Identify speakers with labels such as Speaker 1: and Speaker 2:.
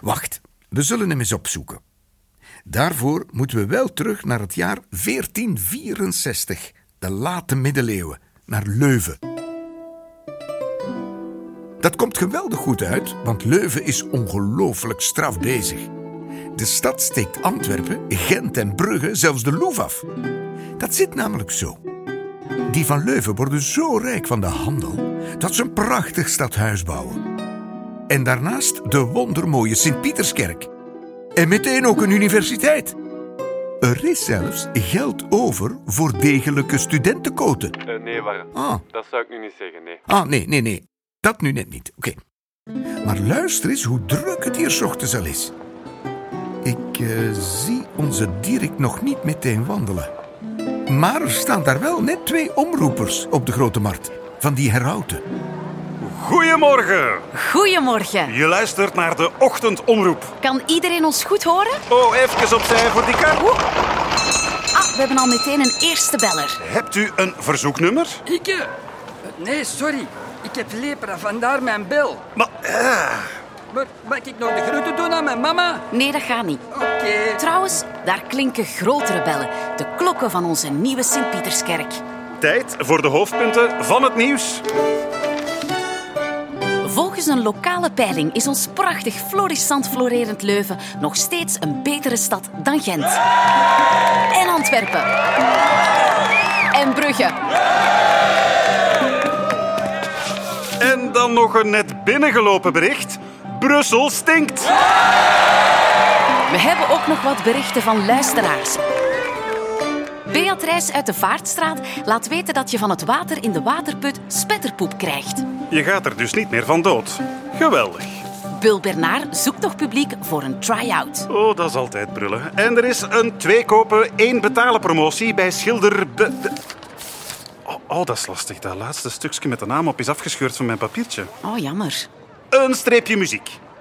Speaker 1: Wacht, we zullen hem eens opzoeken. Daarvoor moeten we wel terug naar het jaar 1464, de late middeleeuwen, naar Leuven. Dat komt geweldig goed uit, want Leuven is ongelooflijk straf bezig. De stad steekt Antwerpen, Gent en Brugge zelfs de Louvre af. Dat zit namelijk zo. Die van Leuven worden zo rijk van de handel dat ze een prachtig stadhuis bouwen. En daarnaast de wondermooie Sint-Pieterskerk. En meteen ook een universiteit. Er is zelfs geld over voor degelijke studentenkoten.
Speaker 2: Eh, nee, Warren.
Speaker 1: Ah,
Speaker 2: Dat zou ik nu niet zeggen, nee.
Speaker 1: ah nee, nee, nee. Dat nu net niet. Oké. Maar luister eens hoe druk het hier 's ochtends al is. Ik eh, zie onze Dirk nog niet meteen wandelen. Maar er staan daar wel net twee omroepers op de Grote Markt. Van die herauten.
Speaker 3: Goedemorgen.
Speaker 4: Goedemorgen.
Speaker 3: Je luistert naar de ochtendomroep.
Speaker 4: Kan iedereen ons goed horen?
Speaker 3: Oh, even opzij voor die kar.
Speaker 4: Ah, we hebben al meteen een eerste beller.
Speaker 3: Hebt u een verzoeknummer?
Speaker 5: Ikke? eh, Nee, sorry. Ik heb lepra, vandaar mijn bel.
Speaker 3: Maar, eh,
Speaker 5: Maar mag ik nog de groeten doen aan mijn mama?
Speaker 4: Nee, dat gaat niet.
Speaker 5: Oké.
Speaker 4: Trouwens, daar klinken grotere bellen. De klokken van onze nieuwe Sint-Pieterskerk.
Speaker 3: tijd voor de hoofdpunten van het nieuws.
Speaker 4: Volgens een lokale peiling is ons prachtig, florissant, florerend Leuven nog steeds een betere stad dan Gent. En Antwerpen. En Brugge.
Speaker 3: En dan nog een net binnengelopen bericht. Brussel stinkt.
Speaker 4: We hebben ook nog wat berichten van luisteraars. Beatrice uit de Vaartstraat laat weten dat je van het water in de waterput spetterpoep krijgt.
Speaker 3: Je gaat er dus niet meer van dood. Geweldig.
Speaker 4: Bul Bernard zoekt nog publiek voor een try-out.
Speaker 3: Oh, dat is altijd brullen. En er is een twee kopen, één betalen promotie bij schilder... Be- de- Oh, oh, dat is lastig. Dat laatste stukje met de naam op is afgescheurd van mijn papiertje.
Speaker 4: Oh, jammer.
Speaker 3: Een streepje muziek.